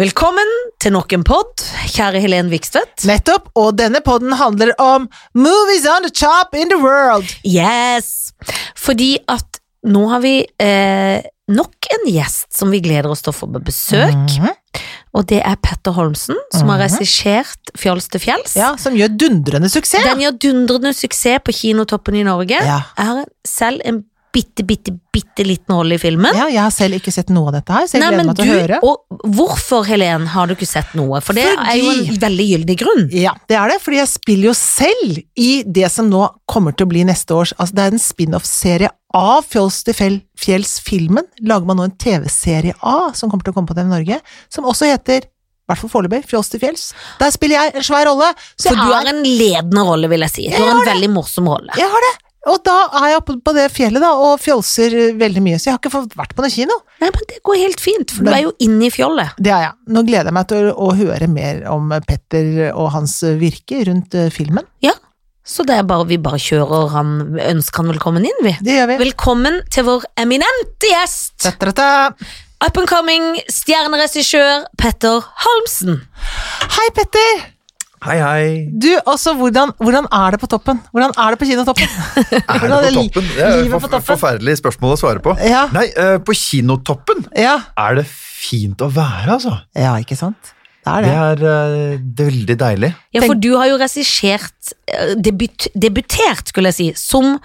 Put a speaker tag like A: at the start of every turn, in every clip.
A: Velkommen til nok en pod, kjære Helen Vikstvedt.
B: Nettopp, og denne podden handler om Movies on the chop in the world
A: Yes! Fordi at nå har vi eh, nok en gjest som vi gleder oss til å få på besøk.
B: Mhm.
A: Og det er Petter Holmsen, som har
B: Mhm.
A: regissert Fjols til fjells.
B: Ja, som gjør dundrende suksess
A: Den gjør dundrende suksess på kinotoppen i Norge.
B: ja.
A: Jeg har selv en bitte, bitte, bitte liten rolle i filmen.
B: ja, jeg har selv ikke sett noe av dette her Så jeg
A: Nei,
B: gleder
A: men
B: meg til å
A: du-
B: høre
A: Og hvorfor, Helen, har du ikke sett noe? For det er jo en
B: Fordi-
A: veldig gyldig grunn.
B: ja, det er det, fordi jeg spiller jo selv i det som nå kommer til å bli neste års Altså, det er en spin-off-serie av Fjols til Fjell- Fjells-filmen Lager man nå en TV-serie av, som kommer til å komme på TV Norge Som også heter, i hvert fall foreløpig, Fjols til Fjells Der spiller jeg en svær rolle Så
A: For
B: jeg
A: du
B: er-
A: har en ledende rolle, vil jeg si. Du har en veldig morsom rolle.
B: Jeg har det! Og da er jeg oppe på det fjellet da, og fjolser eh, veldig mye, så jeg har ikke fått vært på noen kino.
A: Nei, men det går helt fint, for du
B: Men-
A: er jo inne i fjollet.
B: Det er jeg. Nå gleder jeg meg til å, å høre mer om eh, Petter og hans eh, virke rundt eh, filmen.
A: Så det er bare, vi bare kjører han, ønsker han velkommen inn, vi.
B: Det gjør vi.
A: Velkommen til vår eminente gjest,
B: Ta-ta-ta.
A: up and coming stjerneregissør Petter Holmsen.
B: Hei, Petter!
C: Hei, hei.
B: Du, altså, hvordan, hvordan er det på toppen? Hvordan er det på kinotoppen?
C: Er
B: Hvordan
C: det på
B: li-
C: toppen? Det er
B: livet
C: et
B: på
C: forf-
B: toppen?
C: forferdelig spørsmål å svare på.
B: Ja.
C: Nei, eh, på kinotoppen
B: Ja.
C: er det fint å være, altså.
B: ja, ikke sant? Det er
C: Det
B: det.
C: er, eh, det er veldig deilig.
A: Ja, for du har jo regissert, eh, debut, debutert, skulle jeg si, som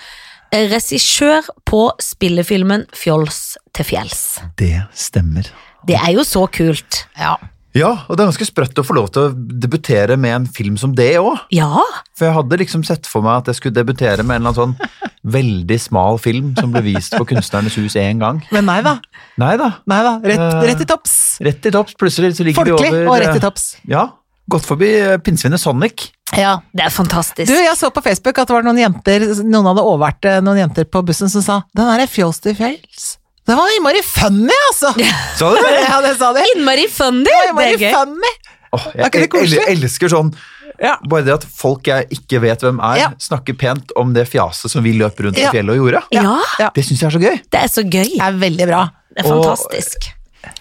A: eh, regissør på spillefilmen Fjols til fjells.
C: Det stemmer.
A: Det er jo så kult.
B: Ja.
C: Ja, og det er ganske sprøtt å få lov til å debutere med en film som det òg.
A: Ja,
C: For jeg hadde liksom sett for meg at jeg skulle debutere med en eller annen sånn veldig smal film som ble vist på Kunstnernes hus én gang.
B: Men nei da.
C: Nei da.
B: Nei da. Rett,
C: Eh,
B: rett i topps.
C: Rett i topps. Plutselig så ligger
B: Folkelig
C: vi over
B: og rett
C: eh,
B: i topps.
C: Ja. Gått forbi eh, pinnsvinet Sonic.
B: Ja.
A: det er fantastisk.
B: Du, jeg så på Facebook at det var noen jenter Noen hadde overvært eh, noen jenter på bussen som sa Den der fjols til fjells Det var innmari funny, altså
C: Sa du det?
B: Ja, det sa de Det
A: Innmari funny!
B: var
A: Det er
B: innmari
A: gøy.
B: funny
C: Åh,
B: Er
C: jeg,
B: ikke det koselig?
C: el- elsker sånn
B: Ja.
C: Bare det at folk jeg ikke vet hvem er,
B: Ja.
C: snakker pent om det fjaset som vi løp rundt
B: Ja.
C: i fjellet og gjorde.
A: Ja,
B: Ja.
C: Det syns jeg er så gøy.
A: det er så gøy.
B: Det er veldig bra
A: Det er
C: Og-
A: fantastisk.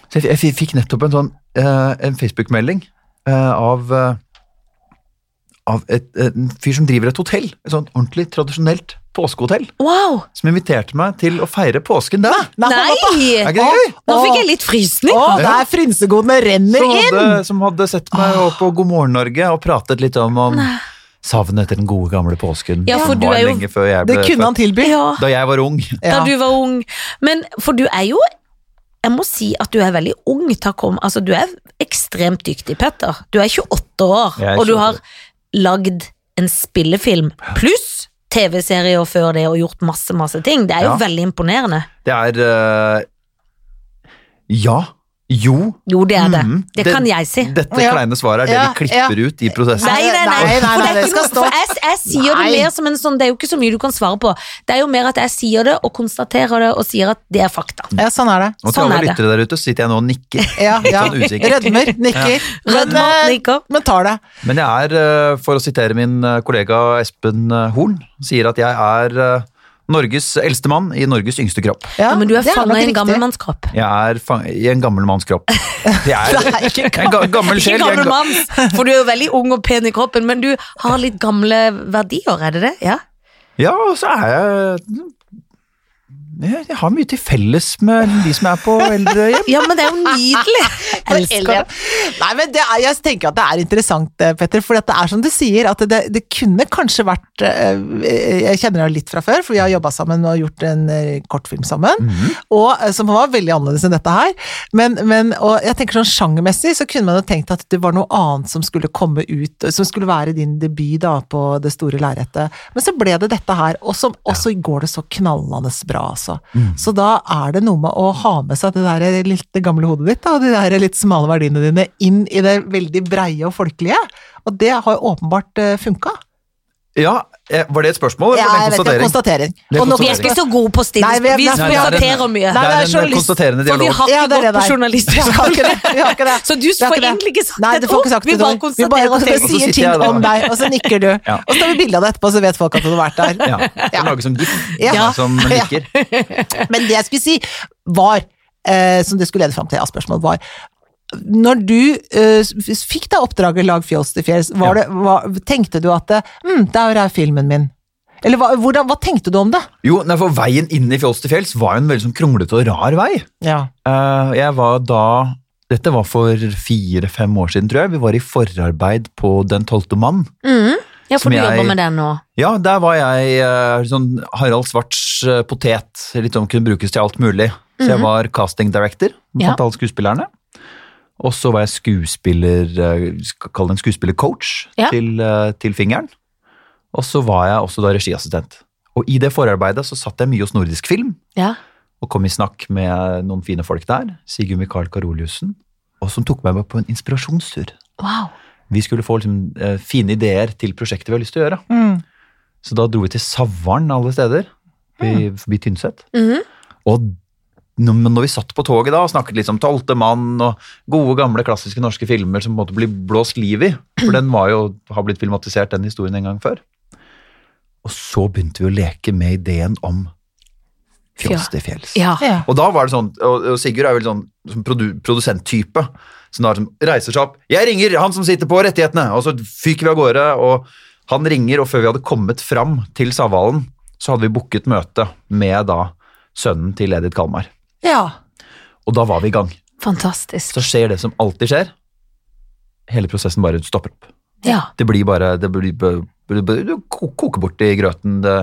C: Så jeg, f- jeg f- fikk nettopp en sånn eh, en Facebook-melding eh, av eh, av et, en fyr som driver et hotell. Et sånn ordentlig tradisjonelt påskehotell.
A: Wow!
C: Som inviterte meg til å feire påsken der.
B: Nei, hold opp, da.
A: Nei!
C: Er ikke det gøy?
A: Nå fikk
B: Åh.
A: jeg litt frysning.
B: Åh, der frynsegodene renner
C: Som
B: inn
C: hadde, som hadde sett meg opp på God morgen Norge og pratet litt om, om savnet etter den gode, gamle påsken.
A: Ja, for
C: som
A: du
C: var
A: er jo-
C: lenge før jeg
B: Det
C: ble
B: kunne han tilby
A: Ja,
C: født. Da jeg var ung.
A: da
B: Ja.
A: du var ung. Men for du er jo Jeg må si at du er veldig ung til å komme Altså, du er ekstremt dyktig, Petter. Du er 28 år,
C: Jeg er
A: og du
C: 28
A: har lagd en spillefilm pluss TV-serier før det og gjort masse, masse ting. Det er jo
C: Ja.
A: veldig imponerende.
C: Det er eh, Ja. Jo.
A: Jo, det er det.
C: Mhm.
A: Det
C: Det-
A: kan jeg si.
C: Dette
B: Ja.
C: kleine svaret er det
B: Ja,
C: vi klipper ut i prosessen.
A: Nei, nei, nei.
B: Nei, nei,
A: For
B: nei,
A: det er ikke
B: det skal
A: noe- for
B: stå.
A: Jeg, jeg sier det
B: Nei.
A: mer som en sånn Det er jo ikke så mye du kan svare på. Det er jo mer at jeg sier det og konstaterer det og sier at det er fakta.
B: Ja, sånn er det
C: Og til
A: sånn
C: alle
A: er det.
C: lyttere der ute så sitter jeg nå og nikker.
B: ja, ja.
C: sånn usikker.
B: Rødmer, nikker men,
A: Rødmer,
B: eh,
A: nikker.
B: Men tar det
C: Men jeg er, eh, for å sitere min eh, kollega Espen eh, Horn, sier at jeg er eh, Norges eldste mann i Norges yngste kropp.
B: ja,
A: men du er
B: det
A: fanget
B: nok
A: i en gammel
B: riktig.
A: mannskap.
C: Jeg er fang i en gammel manns kropp. Jeg er
B: Nei, ikke
C: en ga gammel
A: Ikke
C: sjel. jeg er
A: gammel
C: en ga-
A: mann, for du er jo veldig ung og pen i kroppen, men du har litt gamle verdier, er det det? Ja.
C: Ja, og så er jeg jeg- jeg har mye til felles med de som er på eldrehjem.
A: ja, men det er jo nydelig. Jeg elsker det.
B: Nei, men det er, jeg tenker at det er interessant, eh, Petter. For det er som du sier, at det, det kunne kanskje vært eh, Jeg kjenner deg litt fra før, for vi har jobba sammen og gjort en eh, kortfilm sammen.
A: Mhm.
B: og, eh, som var veldig annerledes enn dette her. Men, men og jeg tenker sånn sjangermessig så kunne man jo tenkt at det var noe annet som skulle komme ut, eh, som skulle være din debut da på det store lerretet. Men så ble det dette her, og som- og så går det så knallende bra, altså.
C: Mm.
B: Så da er det noe med å ha med seg det der lille gamle hodet ditt, da, og de der litt smale verdiene dine inn i det veldig breie og folkelige. Og det har jo åpenbart eh, funka.
C: Ja, eh, var det et spørsmål? eller var
B: Jeg vet
C: det en
B: ikke,
C: konstatering?
B: konstatering.
C: Det er
B: Og nå-
A: Vi er ikke så gode på å stille
B: Nei, vi er-
A: spørsmål. Vi
B: nei,
C: Nei, det er en-
A: konstaterer mye.
B: Nei, det er
C: det er en
B: journalist-
C: konstaterende
A: For vi
C: dialog.
A: har
B: Ja,
A: ikke
B: det er
A: gått
B: det
A: på
B: der.
A: journalistisk
B: Vi har ikke det, vi har ikke det.
A: Så du
B: Vi har
A: får
B: ikke det.
A: egentlig ikke sagt
B: Nei,
A: et
B: du får
A: ord.
B: ikke sagt
A: Vi
B: et
A: bare
B: ord.
A: konstaterer
B: Vi
A: at det er-
B: bare
C: Og så
B: sier
C: sitter jeg
B: ting
C: da.
B: om deg, og så nikker du.
C: Ja.
B: Og så tar vi bilde av det etterpå, så vet folk at du har vært der.
C: Ja,
B: Ja.
C: Lage sånn gif
B: Ja.
C: ja. som nikker.
B: Men det jeg skulle si, var eh, Som det skulle lede fram til av spørsmål, var når du eh, s- fikk da oppdraget Lag fjols til fjells, var det, var, tenkte du at eh, hm, der er filmen min? Eller hva, hvordan, hva tenkte du om det?
C: Jo, nei, for veien inn i Fjols til fjells var jo en veldig sånn kronglete og rar vei.
B: Ja.
C: Eh, jeg var da Dette var for fire-fem år siden, tror jeg. Vi var i forarbeid på Den tolvte mann.
A: Mm. Ja, for
C: Som
A: du
C: jeg-
A: jobber med den nå.
C: Ja, der var jeg eh, sånn Harald Svarts eh, potet, litt om kunne brukes til alt mulig. Så jeg
A: Mhm.
C: var casting director blant
A: Ja.
C: alle skuespillerne. Og så var jeg skuespiller, eh, skal kalle det en skuespillercoach
A: Ja.
C: til, eh, til fingeren. Og så var jeg også da regiassistent. Og i det forarbeidet så satt jeg mye hos Nordisk Film,
A: Ja.
C: og kom i snakk med noen fine folk der, Sigurd Mikael Karoliussen, og som tok meg med på en inspirasjonstur.
A: Wow.
C: Vi skulle få liksom, eh, fine ideer til prosjektet vi har lyst til å gjøre.
B: Mm.
C: Så da dro vi til Savaren alle steder, i, forbi Tynset.
A: Mhm.
C: Og n- men når vi satt på toget da og snakket litt om Tolvte mann og gode, gamle, klassiske norske filmer som på en måte blir blåst liv i, for den var jo, har blitt filmatisert, den historien en gang før. Og så begynte vi å leke med ideen om Fjols til fjells.
A: Ja.
B: Ja.
C: Og da var det sånn, og, og Sigurd er jo veldig sånn som produ, produsenttype, som da liksom reiser seg opp. Jeg ringer han som sitter på rettighetene, og så fyker vi av gårde. Og han ringer, og før vi hadde kommet fram til Savalen, så hadde vi booket møte med da sønnen til Edith Kalmar.
B: ja.
C: Og da var vi i gang.
A: Fantastisk.
C: Så skjer det som alltid skjer. Hele prosessen bare stopper opp.
A: Ja.
C: Det blir bare det blir, det blir, Du ko- koker bort i grøten. Det,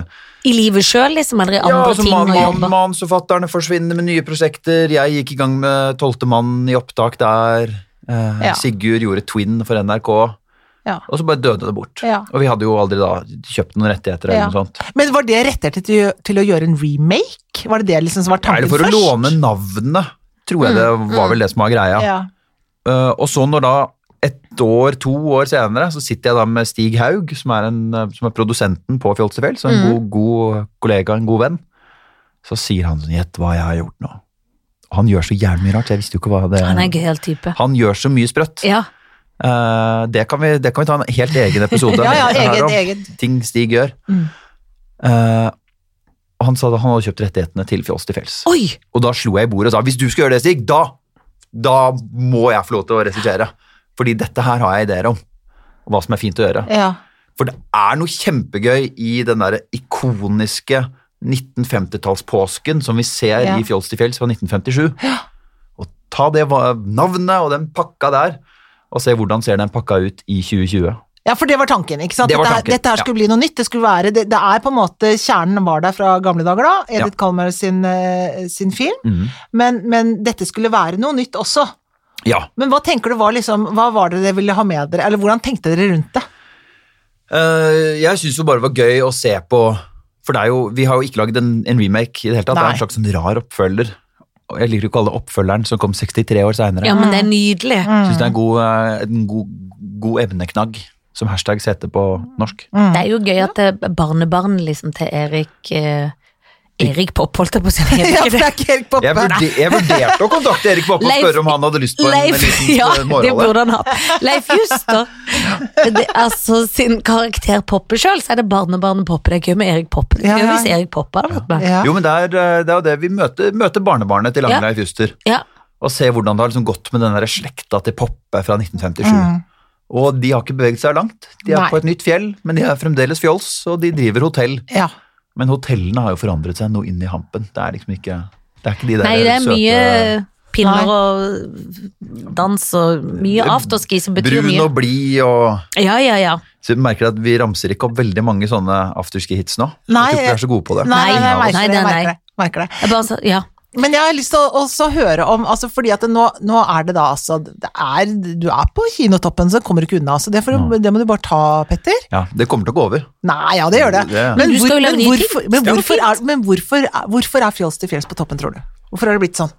A: I livet sjøl, liksom? Eller i andre
C: altså,
A: ting?
C: man,
A: å
C: man,
A: jobbe
C: Manusforfatterne forsvinner med nye prosjekter. Jeg gikk i gang med Tolvte mann i opptak der. Eh,
B: Ja.
C: Sigurd gjorde Twin for NRK.
B: Ja.
C: Og så bare døde det bort.
B: Ja.
C: Og vi hadde jo aldri da kjøpt noen rettigheter. eller
B: Ja.
C: noe sånt.
B: Men var det rettigheter til, å gjø- til å gjøre en remake? Var det det liksom som var
C: Eller
B: tanken
C: for å
B: først? Mm.
C: låne navnet, tror jeg det var vel det som var greia.
B: Ja.
C: Eh, og så når da ett år, to år senere, så sitter jeg da med Stig Haug, som er, en, eh, som er produsenten på Fjols til fjells, og en god, god kollega, en god venn. Så sier han sånn, gjett hva jeg har gjort nå. Og han gjør så jævlig mye rart, jeg visste jo ikke hva det
A: Han er en gøyal type.
C: Han gjør så mye sprøtt.
A: Ja.
C: Eh, det, kan vi, det kan vi ta en helt egen episode
B: ja, ja,
C: her
B: egen,
C: om
B: egen.
C: ting Stig gjør.
B: Mm.
C: Eh, og han sa da han hadde kjøpt rettighetene til Fjols til fjells.
A: Oi!
C: Og da slo jeg i bordet og sa hvis du skal gjøre det, Stig, da, da må jeg få lov til å regissere. Fordi dette her har jeg ideer om. Hva som er fint å gjøre.
B: Ja.
C: For det er noe kjempegøy i den der ikoniske 1950-tallspåsken som vi ser
B: Ja.
C: i Fjols til fjells fra 1957. Og ta det va- navnet og den pakka der, og se hvordan ser den pakka ut i 2020.
B: Ja, for det var tanken. ikke sant?
C: Det var
B: Dette her-
C: tanken,
B: Dette her skulle bli noe nytt. Det skulle være, det, det er på en måte Kjernen var der fra gamle dager, da. Edith Kalmar sin, eh, sin film.
C: Mhm.
B: Men, men dette skulle være noe nytt også.
C: Ja.
B: Men hva tenker du var liksom, hva var det dere ville ha med dere, eller hvordan tenkte dere rundt det?
C: Eh, jeg syns jo bare det var gøy å se på For det er jo, vi har jo ikke lagd en, en remake i det hele tatt. Det er
B: Nei.
C: en slags sånn rar oppfølger. Og Jeg liker jo ikke å kalle det oppfølgeren som kom 63 år seinere.
A: Ja, Mm. men det er nydelig.
C: Syns det er en god, eh, en god, god emneknagg, som hashtags heter på norsk.
A: Det er jo gøy at det er barnebarn liksom, til Erik eh, Erik Popp, holdt jeg på å si. heter
B: Ja,
A: ikke
B: for det
A: det?
B: er ikke helt poppe.
C: Jeg, vurder, jeg vurderte å kontakte Erik Poppe og
A: Leif-
C: spørre om han hadde lyst på en, en
A: Leif,
C: liten eh,
A: ja,
C: ja,
A: det
C: målrolle.
A: burde han hatt. Leif Juster. Det, er altså, sin karakter Poppe sjøl, så er det barnebarnet Poppe. Det er gøy med Erik Poppe. Det
B: Ja,
A: er gøy
B: ja.
A: hvis Erik Poppe hadde vært med.
B: Ja.
C: Jo, men det er, eh, det er jo det. Vi møter, møter barnebarnet til
A: Ja.
C: Langleif Juster.
A: Ja.
C: Og ser hvordan det har liksom gått med den der slekta til Poppe fra 1957.
B: Mm.
C: Og de har ikke beveget seg langt. De er
B: Nei.
C: på et nytt fjell, men de er fremdeles fjols, og de driver hotell.
B: Ja.
C: Men hotellene har jo forandret seg noe inn i hampen. Det er liksom ikke Det er ikke de der
A: Nei, det er
C: søte
A: mye pinner
B: Nei.
A: og dans og mye afterski som betyr
C: Brun
A: mye.
C: og blid og
A: Ja, ja, ja.
C: Så du merker at vi ramser ikke opp veldig mange sånne afterski-hits nå.
B: Nei,
C: jeg tror ikke vi er så gode på det.
B: Nei, nei, nei,
A: Nei,
B: jeg merker
A: nei,
B: det, jeg
A: nei.
B: merker det. Merker det.
A: Jeg bare, sa- ja.
B: Men jeg har lyst til å også høre om altså fordi at det nå, nå er det da altså det er, Du er på kinotoppen, så kommer du ikke unna. Så det, får, du- det må du bare ta, Petter.
C: Ja, det kommer til å gå over.
B: Nei, ja, det gjør det.
C: Det-
A: Men du skal jo lage
B: men
A: nye ting.
B: hvorfor, men
A: Det er jo
B: hvorfor,
A: fint.
B: er, men hvorfor, er- hvorfor er Fjols til fjells på toppen, tror du? Hvorfor har det blitt sånn?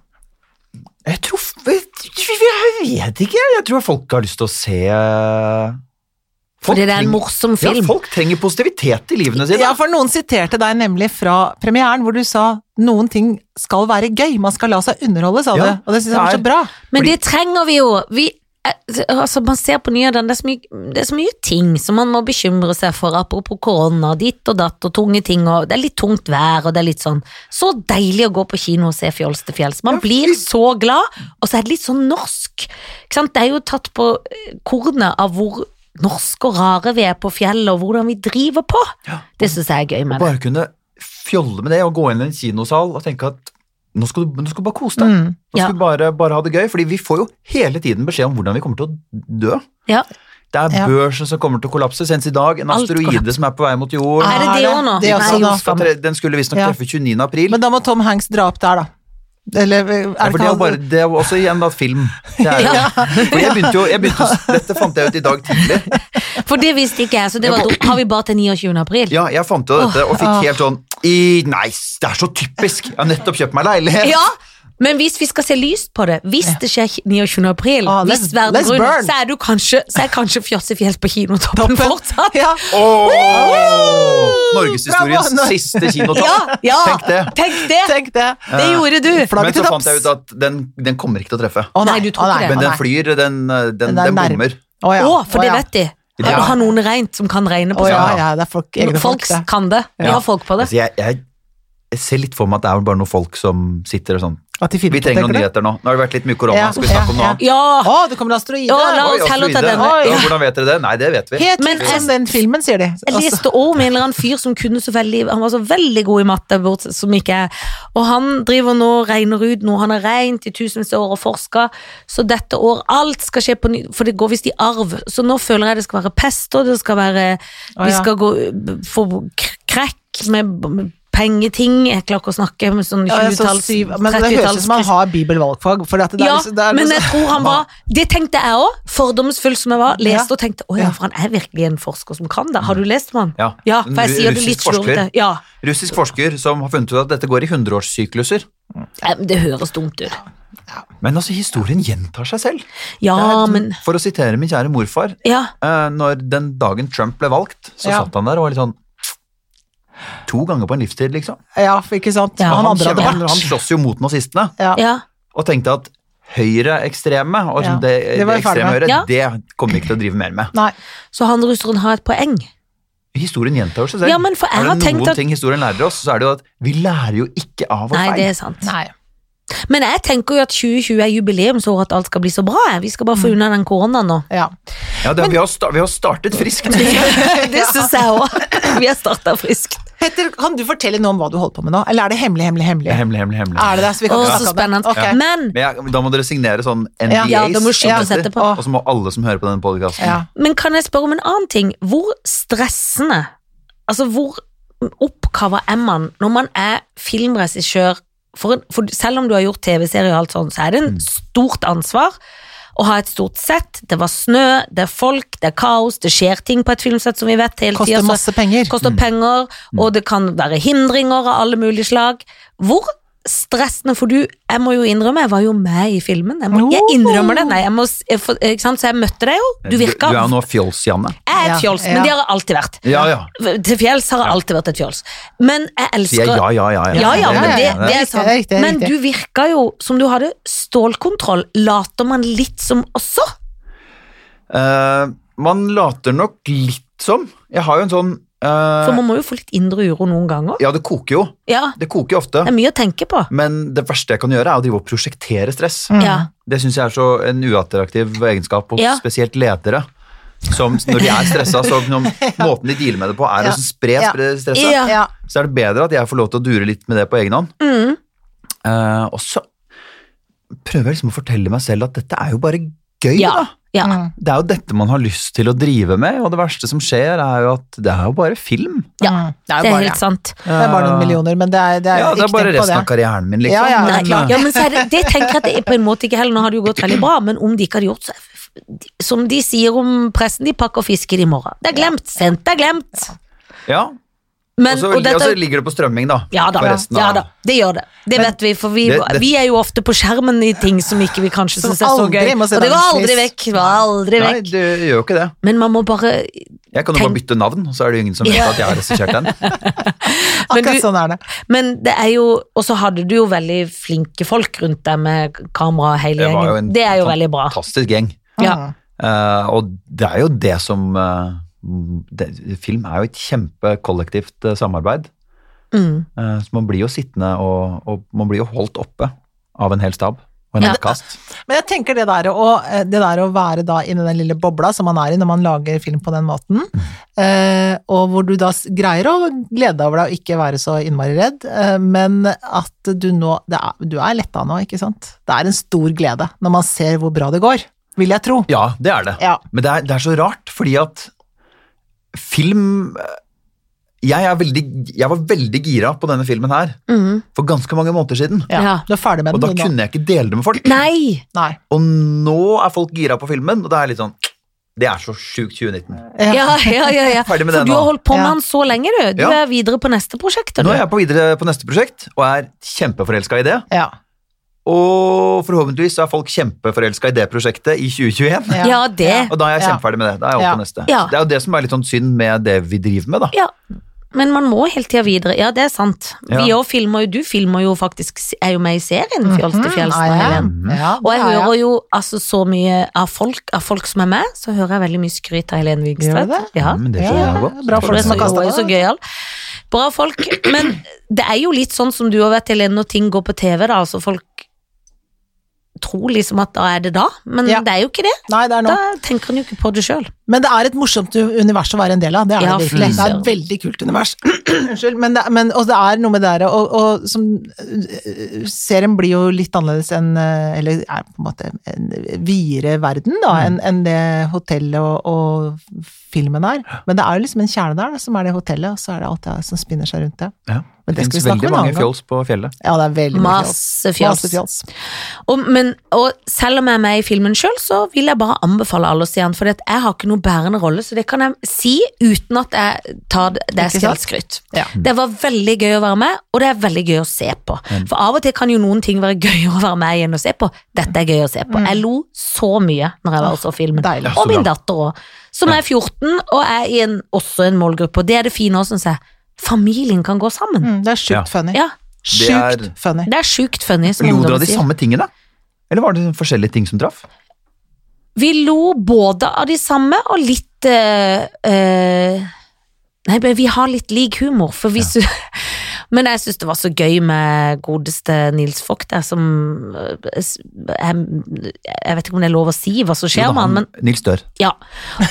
C: Jeg tror Jeg vet ikke. Jeg tror folk har lyst til å se eh,
A: Fordi det er en morsom
C: Ja,
A: film.
C: folk trenger positivitet i livene sine.
B: Ja, for noen siterte deg nemlig fra premieren, hvor du sa noen ting skal være gøy, man skal la seg underholde, sa
C: Ja.
B: du. Og det syns jeg var
C: Nei.
B: så bra.
A: Men
C: Fordi-
A: det trenger vi jo. Vi, eh, altså man ser på nyhetene, det, er så mye- det er så mye ting som man må bekymre seg for. Apropos korona, ditt og datt og tunge ting. Og det er litt tungt vær og det er litt sånn. Så deilig å gå på kino og se Fjols til fjells. Man blir så glad, og så er det litt sånn norsk. ikke sant? Det er jo tatt på eh, kornet av hvor norske og rare vi er på fjellet, og hvordan vi driver på.
C: Ja.
A: Det syns jeg er gøy med det.
C: Bare kunne fjolle med det og gå inn i en kinosal og tenke at nå skal du, nå skal du bare kose deg.
B: Mm.
C: Nå
A: Ja.
C: skal vi bare, bare ha det gøy, fordi vi får jo hele tiden beskjed om hvordan vi kommer til å dø.
A: Ja.
C: Det er
B: Ja.
C: børsen som kommer til å kollapse, senest i dag. En
A: Alt
C: asteroide som er på vei mot
A: Er
C: jorden.
A: Ah, det det
B: det-
A: òg nå?
B: det er
A: Nei,
B: også nå.
A: jo,
C: Skal
A: skam.
C: tre- Den skulle visstnok
B: Ja.
C: treffe 29. april.
B: Men da må Tom Hanks dra opp der, da. Eller er
C: Ja, for det, er jo bare, det er jo også igjen da film. Det er jo, For jeg begynte jo, jeg begynte, å- dette fant jeg ut i dag tidlig.
A: For det visste ikke jeg, så det var dumt. Har vi bare til 29. april?
C: Ja, jeg fant jo dette og
B: Ah,
C: fikk helt sånn i, Nei, det er så typisk! Jeg har nettopp kjøpt meg leilighet!
A: Ja, men hvis vi skal se lyst på det, hvis det skjer 29. april,
B: Ah, let's-
A: hvis verden
B: let's
A: rundt,
B: burn.
A: så er, du kanskje, så er kanskje Fjossefjell på kinotoppen fortsatt.
B: Ja.
C: Åh! Norgeshistoriens
B: Bravo!
C: siste
A: Ja,
C: kinotopp.
A: ja.
C: Tenk det.
A: Tenk det.
B: Tenk det.
A: Det gjorde du.
B: Flagget
C: Men så
B: til topps.
C: fant jeg ut at den, den kommer ikke til å treffe.
B: Å
A: Nei, du tok
B: å
A: ikke det.
C: Men
B: å
C: den
B: nei.
C: flyr, den, eh, den, den,
B: er nær.
C: bommer.
B: Å ja.
A: Å, for
B: å
A: det
B: ja.
A: vet de.
C: Ja.
A: Ja. Har noen regnet som kan regne på
B: Å ja,
A: sånt?
B: ja, det er folk, egne folk,
A: Folk
B: det.
A: kan det. Vi
C: Ja.
A: har folk på det.
C: Altså, jeg, jeg, jeg ser litt for meg at det er bare noen folk som sitter og sånn
B: At de finner
C: Vi
B: på,
C: trenger
B: tenker
C: noen
B: du?
C: nyheter nå. Nå har det vært litt mye korona,
B: Ja,
C: skal vi snakke om noe
B: ja,
C: annet?
A: Ja,
B: Å, det kommer en asteroide!
A: Ja, la-
C: Oi,
A: oss heller ta
C: asteroide.
A: denne.
C: Oi,
A: Ja.
C: Hvordan vet dere det? Nei, det vet vi.
B: Helt
A: Men
B: likt som
A: jeg-
B: den filmen, sier de.
A: Jeg
B: Altså,
A: leste også om en eller annen fyr som kunne så veldig Han var så veldig god i matte, bort, som ikke jeg. Og han driver nå og regner ut noe han har regnet i tusenvis av år og forska, så dette år alt skal skje på ny, for det går visst i arv. Så nå føler jeg det skal være pest, og det skal være
B: Å,
A: Vi
B: ja.
A: skal gå, b- få k- krekk med b- med pengeting Jeg klarer ikke å snakke med sånn
B: ja, så
A: 20-talls,
B: syv, men det høres ut som han
A: 30-talls
B: har bibelvalgfag. For at det er,
A: ja,
B: liksom- det er
A: men
B: liksom-
A: jeg tror han var Det tenkte jeg òg, fordomsfull som jeg var. Leste
B: Ja.
A: og tenkte å ja,
B: Ja.
A: for han er virkelig en forsker som kan det. Har du lest om han?
C: Ja.
A: Ja, for jeg
C: En
A: sier det
C: russisk
A: litt
C: forsker.
A: slurvete. Ja,
C: Russisk forsker som har funnet ut at dette går i hundreårssykluser.
A: Eh, det høres dumt ut.
C: Men altså, historien gjentar seg selv.
A: Ja,
B: Ah,
C: Det er-
A: men
C: For å sitere min kjære morfar,
A: Ja,
C: eh, når den dagen Trump ble valgt, så
B: Ja.
C: satt han der og var litt sånn To ganger på en livstid, liksom.
B: Ja, for ikke sant?
A: Ja,
C: Og
B: han
C: han,
B: andre
C: kjemper-
B: hadde
C: han, han
B: vært.
C: slåss jo mot nazistene,
B: Ja.
A: ja.
C: og tenkte at høyreekstreme
B: Ja,
C: og liksom det, det,
B: det var vi ferdig
C: ekstreme
B: med.
C: høyre,
A: Ja.
C: det kommer vi ikke til å drive mer med.
B: Nei.
A: Så han russeren har et poeng.
C: Historien gjentar seg selv.
A: Ja, men for jeg
C: er
A: har
C: det
A: tenkt
C: noen
A: at
C: ting historien lærer oss, så er det jo at vi lærer jo ikke av vår
A: Nei,
C: feil.
A: det er sant.
B: Nei.
A: Men jeg tenker jo at 2020 er jubileumsåret, at alt skal bli så bra. jeg. Vi skal bare
B: Mm.
A: få unna den koronaen nå.
B: Ja.
C: Ja, det, vi, har sta vi har startet friskt.
A: Det syns jeg òg. Vi har starta friskt.
B: Petter, kan du fortelle noe om hva du holder på med nå? Eller er det hemmelig, hemmelig, hemmelig?
C: Hemmelig, hemmelig, hemmelig.
B: Er det det? Så
A: Å,
B: vi kan
A: så
B: ikke snakke om det?
A: spennende.
B: Ok.
A: Men
C: Men jeg, da må dere signere sånn NDAs.
A: Ja, da må du skynde oss etterpå.
C: Og så må alle som hører på denne podkasten
B: Ja.
A: Men kan jeg spørre om en annen ting? Hvor stressende, altså hvor oppkava er man når man er filmregissør? For, en- for selv om du har gjort TV-serier og alt sånt, så er det
B: Mm.
A: en stort ansvar å ha et stort sett. Det var snø, det er folk, det er kaos, det skjer ting på et filmsett som vi vet hele tida.
B: Koster masse penger. Mm.
A: koster penger, og det kan være hindringer av alle mulige slag. Hvor stressende, for du, jeg må jo innrømme, jeg var jo med i filmen. Jeg, må, jeg innrømmer det. Nei, jeg må, s- jeg, får- ikke sant? Så jeg møtte deg jo. Du virka
C: Du er jo nå fjols, Janne.
A: jeg er
B: Ja,
A: et fjols,
B: ja.
A: men det har jeg alltid vært.
C: Ja, ja.
A: Til fjells har jeg alltid vært et fjols. Men jeg
C: Sier
A: elsker
C: jeg ja, ja, ja.
A: Ja, ja, men det,
B: ja, ja.
A: det er
B: Det er riktig, det er
A: sant.
B: riktig, det er
A: Men
B: riktig.
A: du virka jo som du hadde stålkontroll. Later man litt som også?
C: Eh, man later nok litt som. Jeg har jo en sånn eh,
A: For man må jo få litt indre uro noen ganger.
C: Ja, det koker jo.
A: Ja,
C: Det koker jo ofte.
A: det er mye å tenke på.
C: Men det verste jeg kan gjøre, er å drive og prosjektere stress.
B: Mm.
A: Ja,
C: Det syns jeg er så en uattraktiv egenskap hos
A: Ja.
C: spesielt ledere. Som når de er stressa, så når måten de dealer med det på, er
B: Ja.
C: å spre
B: Ja.
C: spre stresset.
A: Ja.
B: Ja.
C: Så er det bedre at jeg får lov til å dure litt med det på egen hånd.
A: mm.
C: Eh, og så prøver jeg liksom å fortelle meg selv at dette er jo bare gøy,
A: Ja.
C: da.
A: ja.
B: Mm.
C: Det er jo dette man har lyst til å drive med, og det verste som skjer, er jo at det er jo bare film. Eh,
A: Ja,
B: Mm. Det er
A: Det
B: jo
A: er
B: bare,
A: helt sant.
B: det er bare noen millioner, men det er, det er,
C: Ja, det er
B: ikke
C: bare
B: tenk på
C: resten
B: det.
C: av karrieren min, liksom.
B: Ja, ja, det er
C: Men,
B: klart.
A: Ja, men så er det, det tenker jeg at det er på en måte ikke heller. Nå har det jo gått veldig bra, men om de ikke hadde gjort så Som de sier om pressen, de pakker fisken i morgen. Det er glemt. Sendt er glemt.
C: eh, ja.
A: Men,
C: Og så
A: og
C: og
A: dette,
C: så ligger det på strømming, da.
A: Ja da,
C: for resten
A: ja
C: av-
A: da, det gjør det. Det vet vi, for vi,
C: Det- det-
A: vi er jo ofte på skjermen i ting som ikke vi kanskje
B: Som
A: syns er så
B: aldri
A: gøy.
B: må se
A: Og det var aldri
B: dagens
A: vekk. Var aldri
C: Nei,
A: vekk.
C: det gjør jo ikke det.
A: Men man må bare
C: Jeg kan jo bare
A: Tenk-
C: bytte navn, så er det jo ingen som vet
A: Ja.
C: at jeg har regissert den.
A: Men
B: Akkurat
A: du-
B: sånn er det.
A: Men det er jo Og så hadde du jo veldig flinke folk rundt deg med kamera og hele
C: Det var jo
A: gjengen.
C: en
A: Det er jo
C: fan-
A: veldig bra.
C: Fantastisk gjeng.
A: Ja.
B: Mm.
C: Eh, og det er jo det som eh, det, Film er jo et kjempekollektivt eh, samarbeid.
A: Mm.
C: Eh, så man blir jo sittende og, og man blir jo holdt oppe av en hel stab. Og Og en
A: Ja.
C: oppkast.
B: Men jeg tenker det der, å, eh, det der å være da inni den lille bobla som man er i når man lager film på den måten, eh, og hvor du da s- greier å glede deg over deg og ikke være så innmari redd, eh, men at du nå det er, Du er letta nå, ikke sant? Det er en stor glede når man ser hvor bra det går, vil jeg tro.
C: Ja, det er det.
B: Ja.
C: Men det er, det er så rart, fordi at film eh, jeg, er veldig, jeg var veldig gira på denne filmen her
A: Mm.
C: for ganske mange måneder siden.
B: ja.
A: Ja.
B: Du er ferdig med
C: Og
B: den,
C: da
B: du nå.
C: kunne jeg ikke dele det med folk.
A: Nei!
B: Nei.
C: Og nå er folk gira på filmen, og det er litt sånn Det er så sjukt 2019.
A: Ja, ja, ja. ja.
C: Ferdig med
A: For
C: det
A: du har
C: nå.
A: holdt på med
B: Ja.
A: han så lenge, du. Du
C: Ja.
A: er videre på neste prosjekt. Du.
C: Nå er jeg på videre på neste prosjekt og er kjempeforelska i det.
B: Ja.
C: Og forhåpentligvis så er folk kjempeforelska i det prosjektet i 2021.
B: Ja.
A: Ja, det.
C: Og da er jeg
B: Ja.
C: kjempeferdig med det. Da er jeg opp
B: Ja.
C: på neste.
A: Ja.
C: Det er jo det som er litt sånn synd med det vi driver med, da.
A: Ja. Men man må hele tida videre. Ja, det er sant. Vi
C: Ja.
A: òg filmer jo, du filmer jo faktisk, er jo med i serien Fjols til fjells nå,
B: Mhm, er jeg?
A: Helen.
B: Ja,
A: Og jeg
B: det er jeg.
A: hører jo altså så mye av folk, av folk som er med, så hører jeg veldig mye skryt av Helen
B: Gjør du
A: Vigstvedt.
B: det?
A: Ja.
C: Mm, det
B: Ja,
C: skjønner jeg godt.
B: bra
A: For det er så,
B: som har kastet
A: og så
B: det.
A: gøyal. Bra folk. Men det er jo litt sånn som du har vært, Helene, når ting går på TV, da. Altså folk tror liksom at da er det da, men
B: Ja.
A: det er jo ikke det.
B: Nei, det er nå.
A: Da tenker en jo ikke på det sjøl.
B: Men det er et morsomt univers å være en del av. Det er
A: Ja,
B: det virkelig.
A: fy
B: Det er
A: søren.
B: et veldig kult univers. Unnskyld. Men det, men, og det er noe med det der og, og som øh, Serien blir jo litt annerledes enn øh, Eller er på en måte en videre verden, da, enn enn det hotellet og, og filmen er. Men det er jo liksom en kjerne der, da, som er det hotellet, og så er det alt det som spinner seg rundt det.
C: Ja.
B: Men
C: Det
B: det skal vi
C: finnes
B: snakke om
C: veldig
B: en
C: mange
B: annen gang.
C: fjols på fjellet.
B: Ja, det er veldig mye fjols.
A: Masse fjols.
B: Masse fjols.
A: Og, men, og selv om jeg er med i filmen sjøl, så vil jeg bare anbefale alle å se den. For jeg har ikke noen bærende rolle, så det kan jeg si uten at jeg tar det- det
B: Ikke sant?
A: selvskryt.
B: Ja.
A: Det var veldig gøy å være med, og det er veldig gøy å se på.
C: Mm.
A: For av og til kan jo noen ting være gøyere å være med i enn å se på. Dette er gøy å se på. Jeg lo så mye når jeg var og så filmen.
B: Mm. Deilig.
A: Og
C: Så
A: min
C: bra.
A: datter òg, som er 14 og er i en, også en målgruppe. Og det er det fine òg, syns jeg. Familien kan gå sammen.
B: Mm, det er sjukt
C: Ja.
B: funny.
A: Ja,
C: Det
B: Sjukt
C: er-
B: funny.
A: det er sjukt funny. som
C: Lo dere
A: ungdommen
C: av de
A: sier.
C: samme tingene? Eller var det forskjellige ting som traff?
A: Vi lo både av de samme og litt eh, eh, Nei, men vi har litt lik humor, for vi sy- Men jeg syns det var så gøy med godeste Nils Vogt der, som eh, s- jeg, jeg vet ikke om det er lov å si hva som skjer
C: Jo da,
A: med han, men
C: Nils Dør.
A: ja.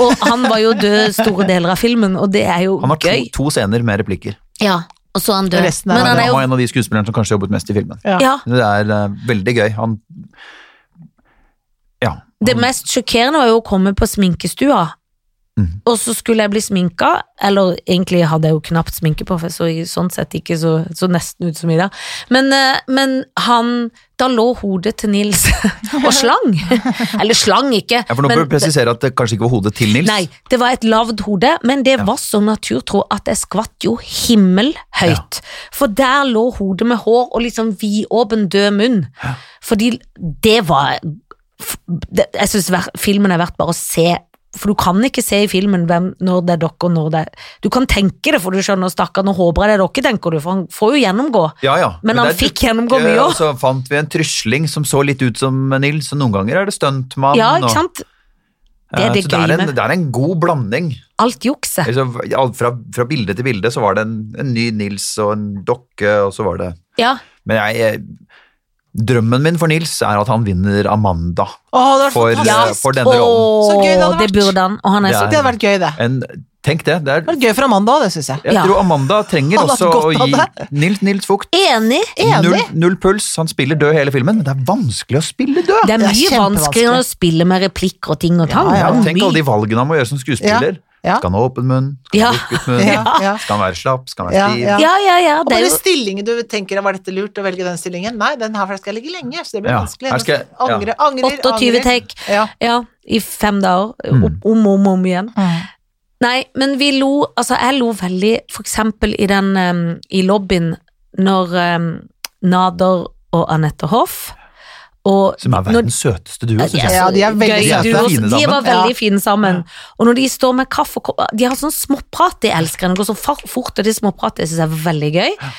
A: Og han var jo død store deler av filmen, og det er jo
C: Han har to,
A: gøy.
C: to scener med replikker.
A: Ja, og så er han død.
B: Resten er
A: Men
B: bare
A: han er
C: Han
A: jo
C: var en av de skuespillerne som kanskje jobbet mest i filmen.
B: Ja.
A: ja,
C: Det er eh, veldig gøy. Han Ja.
A: Det mest sjokkerende var jo å komme på sminkestua.
C: Mhm.
A: Og så skulle jeg bli sminka, eller egentlig hadde jeg jo knapt sminke på, for jeg så i- sånn sett ikke så, så nesten ut som i dag. Men, eh, men han Da lå hodet til Nils og slang. Eller slang ikke.
C: Ja, for nå bør
A: men,
C: du presisere at det kanskje ikke var hodet til Nils.
A: Nei, det var et lavt hode, men det var så naturtro at jeg skvatt jo himmelhøyt. For der lå hodet med hår og liksom vidåpen, død munn. Fordi det var f- det, Jeg syns filmen er verdt bare å se. For du kan ikke se i filmen hvem, når det er dere og når det er Du kan tenke det, for du skjønner, stakkar, nå håper jeg det er dere, tenker du, for han får jo gjennomgå.
C: Ja, ja.
A: Men han
C: det er-
A: fikk gjennomgå mye
C: Ja,
A: også.
C: Og så fant vi en trysling som så litt ut som Nils, og noen ganger er det stuntmann.
A: Ja,
C: og-
A: ikke sant? Det
C: Ja,
A: er det
C: så
A: gøye
C: det er, en,
A: med
C: det er en god blanding.
A: alt jukset.
C: Altså, alt fra, fra bilde til bilde så var det en, en ny Nils og en dokke, og så var det
A: Ja.
C: Men jeg, jeg Drømmen min for Nils er at han vinner Amanda
B: Å, det
C: for,
A: Ja.
B: var
C: eh,
B: fantastisk!
C: for denne rollen.
B: Så gøy det
A: Åh,
B: hadde
A: det
B: vært.
A: burde han, og han er
C: Det
A: så
C: er-
B: Det hadde vært gøy, det.
C: En, tenk det. det er,
B: Det hadde vært gøy for Amanda òg, det syns jeg.
C: jeg
A: Ja.
C: tror Amanda trenger
B: Hadde hatt
C: også å
B: godt av
C: gi Nils, Nils Vogt
A: Enig!
B: Enig.
C: Null, null puls, han spiller død hele filmen, men det er vanskelig å spille død.
A: Det er
B: Det er
A: mye vanskeligere å spille med replikker og ting og tang.
B: ja,
A: Det er
C: Tenk
A: mye-
C: alle de valgene han må gjøre som skuespiller.
B: Ja.
C: Skal han ha åpen munn? Skal
A: Ja.
C: han ha lukket munn?
B: Ja, ja.
C: Skal han være slapp? Skal han være
B: Ja,
C: stiv?
B: ja.
A: ja, ja, ja,
B: Og
A: det er
B: bare
A: jo
B: stillingen du tenker var dette lurt å velge den stillingen? Nei, den her skal jeg ligge lenge, så det blir
C: Ja,
B: vanskelig.
C: her skal jeg- ja.
B: Angre, angrer,
A: 28
B: angrer.
A: take.
B: Ja.
A: Ja, i fem dager.
C: Mm.
A: Opp- Om og om, om igjen. Nei, men vi lo Altså, jeg lo veldig, for eksempel i den em, i lobbyen når em, Nader og Anette Hoff og
C: Som er
A: når-
C: verdens søteste duo, syns jeg.
B: Altså, Ja, de er veldig
A: gøy duo.
B: søte.
C: De er fine
A: De
C: sammen.
A: var veldig fine sammen. Og når de står med kaffe og ko- De har sånn småprat, de elsker henne. Det går så fa- fort, og det småpratet jeg synes jeg var veldig gøy.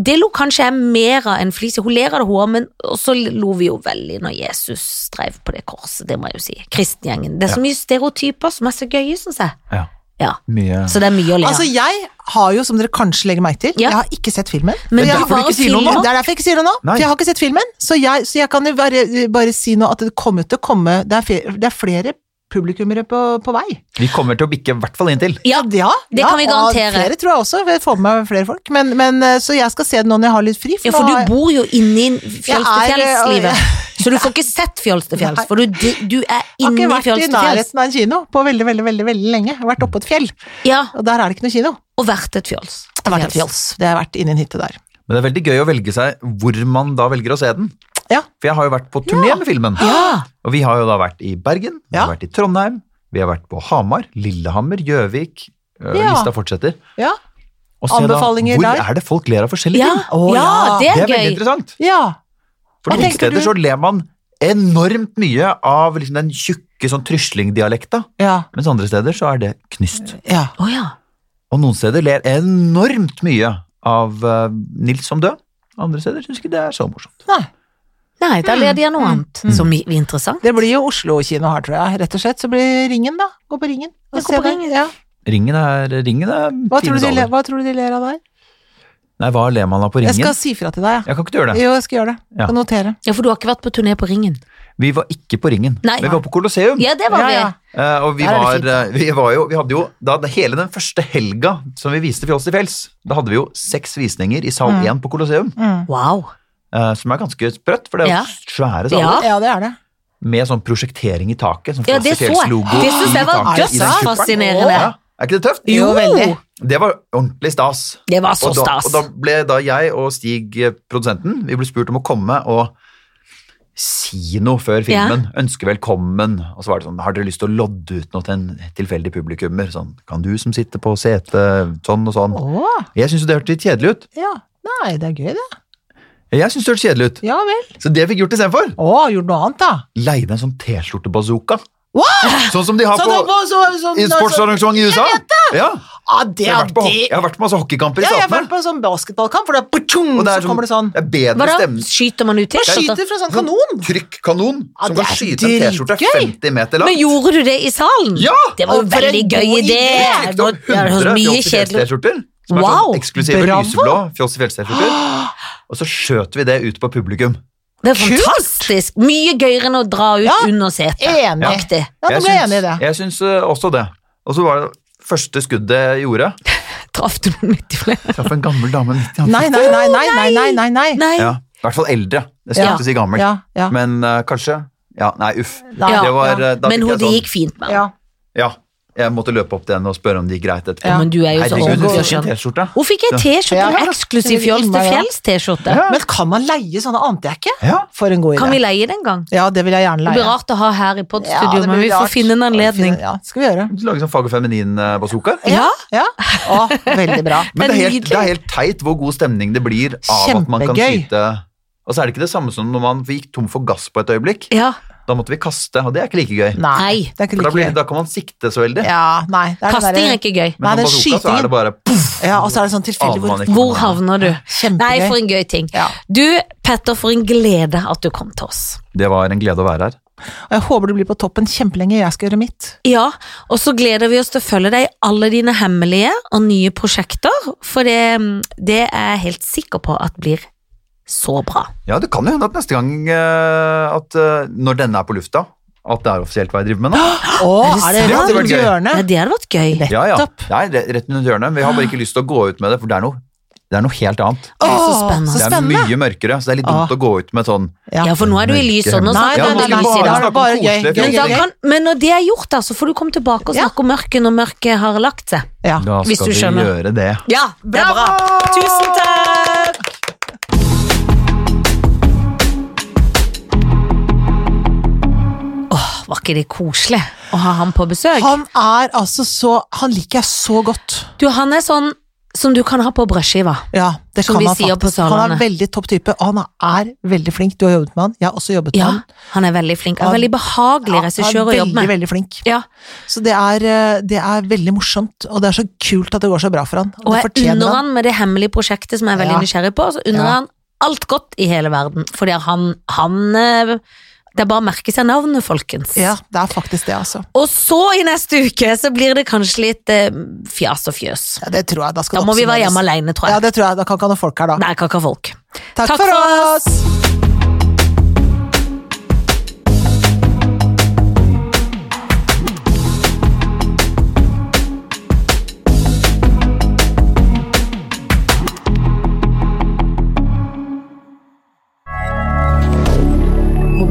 A: Det lo kanskje jeg mer av enn Felicia. Hun ler av det, hun òg, men så lo vi jo veldig når Jesus streiv på det korset, det må jeg jo si. Kristengjengen. Det er så mye stereotyper som er så gøye, syns jeg.
C: Ja.
A: Ja.
C: Mye
A: Så det er mye å le av.
B: Altså, jeg har jo, som dere kanskje legger merke til,
A: Ja.
B: jeg har ikke sett filmen.
A: Men
B: jeg,
A: du var
B: ikke
A: jo
B: sier noe nå.
A: filmen.
B: Det er derfor jeg ikke sier noe nå,
C: Nei.
B: for jeg har ikke sett filmen. Så jeg, så jeg kan jo bare, bare si nå at det kommer til å komme Det er, fe- det er flere publikummere på, på vei.
C: Vi kommer til å bikke i hvert fall inntil.
A: ja,
B: Ja,
A: Det
B: ja,
A: kan vi garantere.
B: Og flere tror jeg også. Jeg får med meg flere folk. Men, men, eh, så jeg skal se den nå når jeg har litt fri.
A: ja, for
B: nå har
A: du
B: jeg-
A: bor jo inni
B: Jeg
A: fjells
B: er,
A: til
B: eh,
A: fjells-livet. Så du får ikke sett fjells til fjells,
B: Nei.
A: for du, du er
B: har
A: inni
B: ikke vært
A: fjells
B: i
A: til fjells.
B: nærheten av en kino på veldig veldig, veldig, veldig lenge. Jeg har vært oppå et fjell,
A: Ja,
B: og der er det ikke noe kino.
A: og vært et fjells.
B: Jeg har vært et fjells. Det har jeg vært inni en hytte der.
C: Men det er veldig gøy å velge seg hvor man da velger å se den.
B: Ja.
C: For jeg har jo vært på turné med filmen.
A: Ja,
C: Og vi har jo da vært i Bergen, vi har
B: Ja.
C: vært i Trondheim, vi har vært på Hamar, Lillehammer, Gjøvik. øh,
B: Ja.
C: Lista fortsetter.
B: Ja.
C: Og se
B: Anbefalinger
C: da, hvor
B: der?
C: er det folk ler av forskjellige
A: ja,
C: ting?
B: Å,
A: ja
B: ja.
A: det er
C: Det er veldig
A: gøy.
C: interessant.
B: ja.
C: For
B: Hva
C: noen
B: tenker
C: steder
B: du?
C: så ler man enormt mye av liksom den tjukke sånn tryslingdialekta,
B: Ja.
C: mens andre steder så er det knyst.
B: ja.
A: Å ja.
C: Og noen steder ler enormt mye av eh, Nils som død. Andre steder syns ikke det er så morsomt.
B: Nei.
A: Nei, da leder jeg noe annet som i- interessant.
B: Det blir jo Oslo-kino her, tror jeg. Rett og slett. Så blir Ringen, da. Gå på Ringen.
A: Ja,
B: og
A: gå
B: se
A: på
B: den.
A: Ringen.
B: Ja.
C: Ringen er, ringen er
B: Hva, tror du
C: fine
B: de, le-
C: daler.
B: hva tror du de ler av der?
C: Nei, hva ler man av på
B: Jeg
C: ringen?
B: skal si fra til deg, jeg.
C: Jeg kan ikke gjøre det.
B: Jo, jeg skal gjøre det.
C: Ja.
B: Jeg Kan notere.
A: Ja, for du har ikke vært på turné på Ringen.
C: Vi var ikke på ringen,
A: Nei.
C: men vi var på Colosseum.
A: Ja, det var
B: Ja,
A: vi.
B: ja.
C: Eh, og vi
B: Der er det
C: var,
B: fint.
C: eh, vi var jo, vi hadde jo da, det- hele den første helga som vi viste Fjols til fjells, da hadde vi jo seks visninger i sal
B: Mm.
C: 1 på Colosseum,
B: Mm.
A: Wow.
C: eh, som er ganske sprøtt, for det
A: Ja.
C: er jo svære saler.
A: Ja.
B: Ja, det er det.
C: Med sånn prosjektering i taket, sånn
A: Ja,
C: Fjols til
A: det så jeg.
C: fjells-logo
A: Det synes jeg var
C: i taket i den kuppelen.
A: dødsfascinerende.
C: Ja, er ikke det tøft?
B: Jo, veldig.
C: Det var ordentlig stas.
A: Det var så
C: og da,
A: stas.
C: Og da ble da jeg og Stig, eh, produsenten, vi ble spurt om å komme og si noe før filmen. Ønske velkommen. Og så var det sånn, har dere lyst til å lodde ut noe til en tilfeldig publikummer? Sånn, kan du som sitter på setet, sånn og sånn.
B: Å,
C: Jeg syns jo det hørtes litt kjedelig ut.
B: ja. Nei, det er gøy, det.
C: Jeg synes det hørtes kjedelig ut.
B: Ja vel.
C: Så det fikk gjort istedenfor.
B: Å, gjort noe annet, da.
C: Leide en sånn T-skjorte-bazooka. Sånn som de har
B: Sånn,
C: på
B: på, så, sånn,
C: i sportsarrangement i USA. Ja,
B: Ja, det
C: jeg, har
B: er
C: vært på, ho-
B: det.
C: jeg har vært på masse hockeykamper i
B: Ja, jeg har
C: statene.
B: vært på en sånn basketballkamp, for det er putjung,
C: Og det er
B: så kommer det sånn.
C: Det er bedre
A: Hva da?
C: stemning.
A: Skyter man ut til?
B: Man skyter fra sånn kanon.
C: Trykkkanon
B: Ja,
C: som
B: det
C: kan
B: er
C: skyte en T-skjorte
B: dritgøy.
C: 50 meter
A: Men
C: langt.
A: gjorde du det i salen?
C: Ja!
A: Det var jo
B: Og for
A: veldig
B: en
A: gøy
B: god
A: idé!
B: idé.
A: Det
C: Jeg
A: var- det
C: trykte
B: sånn
C: opp
A: høres
C: 100
A: mye
C: Fjols i
A: kjedelig ut.
C: Fjells-T-skjorter, som er
A: Wow!
C: sånn eksklusive
B: Bravo!
C: lyseblå Fjols i Fjells-T-skjorter. Og så skjøt vi det ut på publikum.
A: Det er
B: Kult!
A: fantastisk. Mye gøyere enn å dra ut
B: Ja.
A: under
C: Eh.
A: setet.
B: Enig. Ja,
A: Aktig.
B: da
C: Jeg
B: ble jeg
C: syns,
B: enig i det.
C: jeg syns eh, også det. Og så var det første skuddet jeg gjorde.
A: Traff du noen midt i flere?
C: Traff en gammel dame midt i
B: Nei, nei, nei, nei, nei, nei, nei, nei.
A: Nei.
C: Ja, I hvert fall eldre. Det skal
A: Ja.
C: ikke si gammel.
B: Ja, ja.
C: Men eh, kanskje Ja, nei, uff.
B: Nei,
A: Ja.
C: Det var,
B: ja,
C: eh, da
A: Men
C: fikk
A: hun,
C: jeg
A: det
C: sånn,
A: gikk fint med henne.
B: ja.
C: Ja. Jeg måtte løpe opp til henne og spørre om det gikk greit etterpå.
B: Ja.
A: Men du er jo så
C: Herregud,
A: ung.
C: hun
A: du
C: fikk en
A: skjønner.
C: T-skjorte.
A: Hun fikk ei T-skjorte,
B: Ja.
A: en eksklusiv Fjols til fjells-T-skjorte.
C: Ja.
B: Men kan man leie sånne ante jeg ikke?
C: Ja.
B: For en god
A: Kan vi
B: idé.
A: leie den en gang?
B: Ja, det vil jeg gjerne
A: Det blir
B: leie.
A: rart å ha her i
B: Ja, det
A: podstudio, men
B: blir
A: vi får
B: rart.
A: finne en anledning.
B: Ja, det skal vi gjøre.
C: Lage sånn fag- og feminin-bazooka.
A: Ja,
B: Ja. Å, veldig bra.
C: Men
A: Det er
C: det er, helt,
A: nydelig.
C: det er helt teit hvor god stemning det blir av at man kan
B: Kjempegøy.
C: skyte Og så er det ikke det samme som når man gikk tom for gass på et øyeblikk.
A: ja.
C: Da måtte vi kaste, og det er ikke like gøy.
B: Nei,
A: Nei.
B: det er ikke
C: For da,
B: like
C: blir,
B: gøy.
C: da kan man sikte så veldig.
B: Ja, nei. Det er
A: Kasting er
B: det der,
A: ikke gøy.
C: Men
B: Nei,
C: med
B: den
C: bazooka så er det bare poff,
B: ja, og så er det sånn tilfeldig
C: Aner man
B: hvor
C: ikke.
A: Hvor havner du? Nei,
B: Kjempegøy.
A: for en gøy ting.
B: Ja.
A: Du, Petter, for en glede at du kom til oss.
C: Det var en glede å være her.
B: Og jeg håper du blir på toppen kjempelenge. Jeg skal gjøre mitt.
A: Ja, og så gleder vi oss til å følge deg i alle dine hemmelige og nye prosjekter, for det, det er jeg helt sikker på at blir så bra.
C: Ja, det kan jo hende at neste gang eh, at eh, når denne er på lufta, at det er offisielt hva jeg driver med nå.
B: Å,
A: er det
B: er det
C: sant?
B: rett rundt
C: Det hadde vært gøy.
A: Ja,
B: hjørnet?
A: det hadde vært gøy.
B: Det-
C: Ja, ja.
B: Nettopp.
C: Det er re- rett rundt hjørnet. Vi har bare ikke lyst til å gå ut med det, for det er noe, det er noe helt annet.
A: Å, så
B: Åh,
A: spennende.
B: så
C: Det er mye mørkere, så det er litt
B: Åh.
C: dumt å gå ut med sånn
A: Ja, for nå er du i lyset, og nå
B: Nei,
A: snakker
C: Ja,
A: vi
B: nei, nei,
A: om
B: nei,
C: skal
A: lys i dag.
B: da er det bare gøy.
C: Koselig,
A: Men,
B: gøy,
A: da
B: gøy.
A: kan, men når det er gjort, da, så får du komme tilbake og
B: Ja.
A: snakke om mørket når mørket har lagt seg.
B: Ja.
C: Da
A: Hvis
C: skal
A: du
C: vi
A: skjønner.
C: gjøre det.
A: Ja,
B: Det er bra.
A: Tusen takk! Åh, var ikke det koselig å ha ham på besøk?
B: Han er altså så Han liker jeg så godt.
A: Du, han er sånn som du kan ha på brødskiva.
B: Ja, det
A: Som
B: kan
A: vi
B: han
A: sier på
B: faktisk. Han
A: Sørlandet.
B: er veldig topp type, og han er veldig flink. Du har jobbet med han, jeg har også jobbet med
A: Ja,
B: han.
A: han er veldig flink. Han er
B: Han-
A: veldig behagelig
B: han
A: regissør
B: er
A: å
B: veldig,
A: jobbe med.
B: veldig flink.
A: Ja,
B: Så det er, eh, det er veldig morsomt, og det er så kult at det går så bra for han.
A: og
B: det
A: jeg
B: fortjener
A: unner han med det hemmelige prosjektet som jeg er veldig
B: Ja.
A: nysgjerrig på, så unner
B: Ja.
A: han alt godt i hele verden, fordi han, han eh, Det er bare å merke seg navnet, folkens.
B: Ja, det er faktisk det, altså.
A: Og så i neste uke så blir det kanskje litt eh, fjas og fjøs.
B: Ja, det tror jeg. Da, skal
A: Da
B: det
A: må vi være
B: oppsummeres.
A: hjemme alene, tror
B: Ja,
A: jeg.
B: det tror jeg. Da kan ikke ha noen folk her, da.
A: Nei, kakka folk.
B: Takk,
A: Takk
B: for
A: for
B: oss!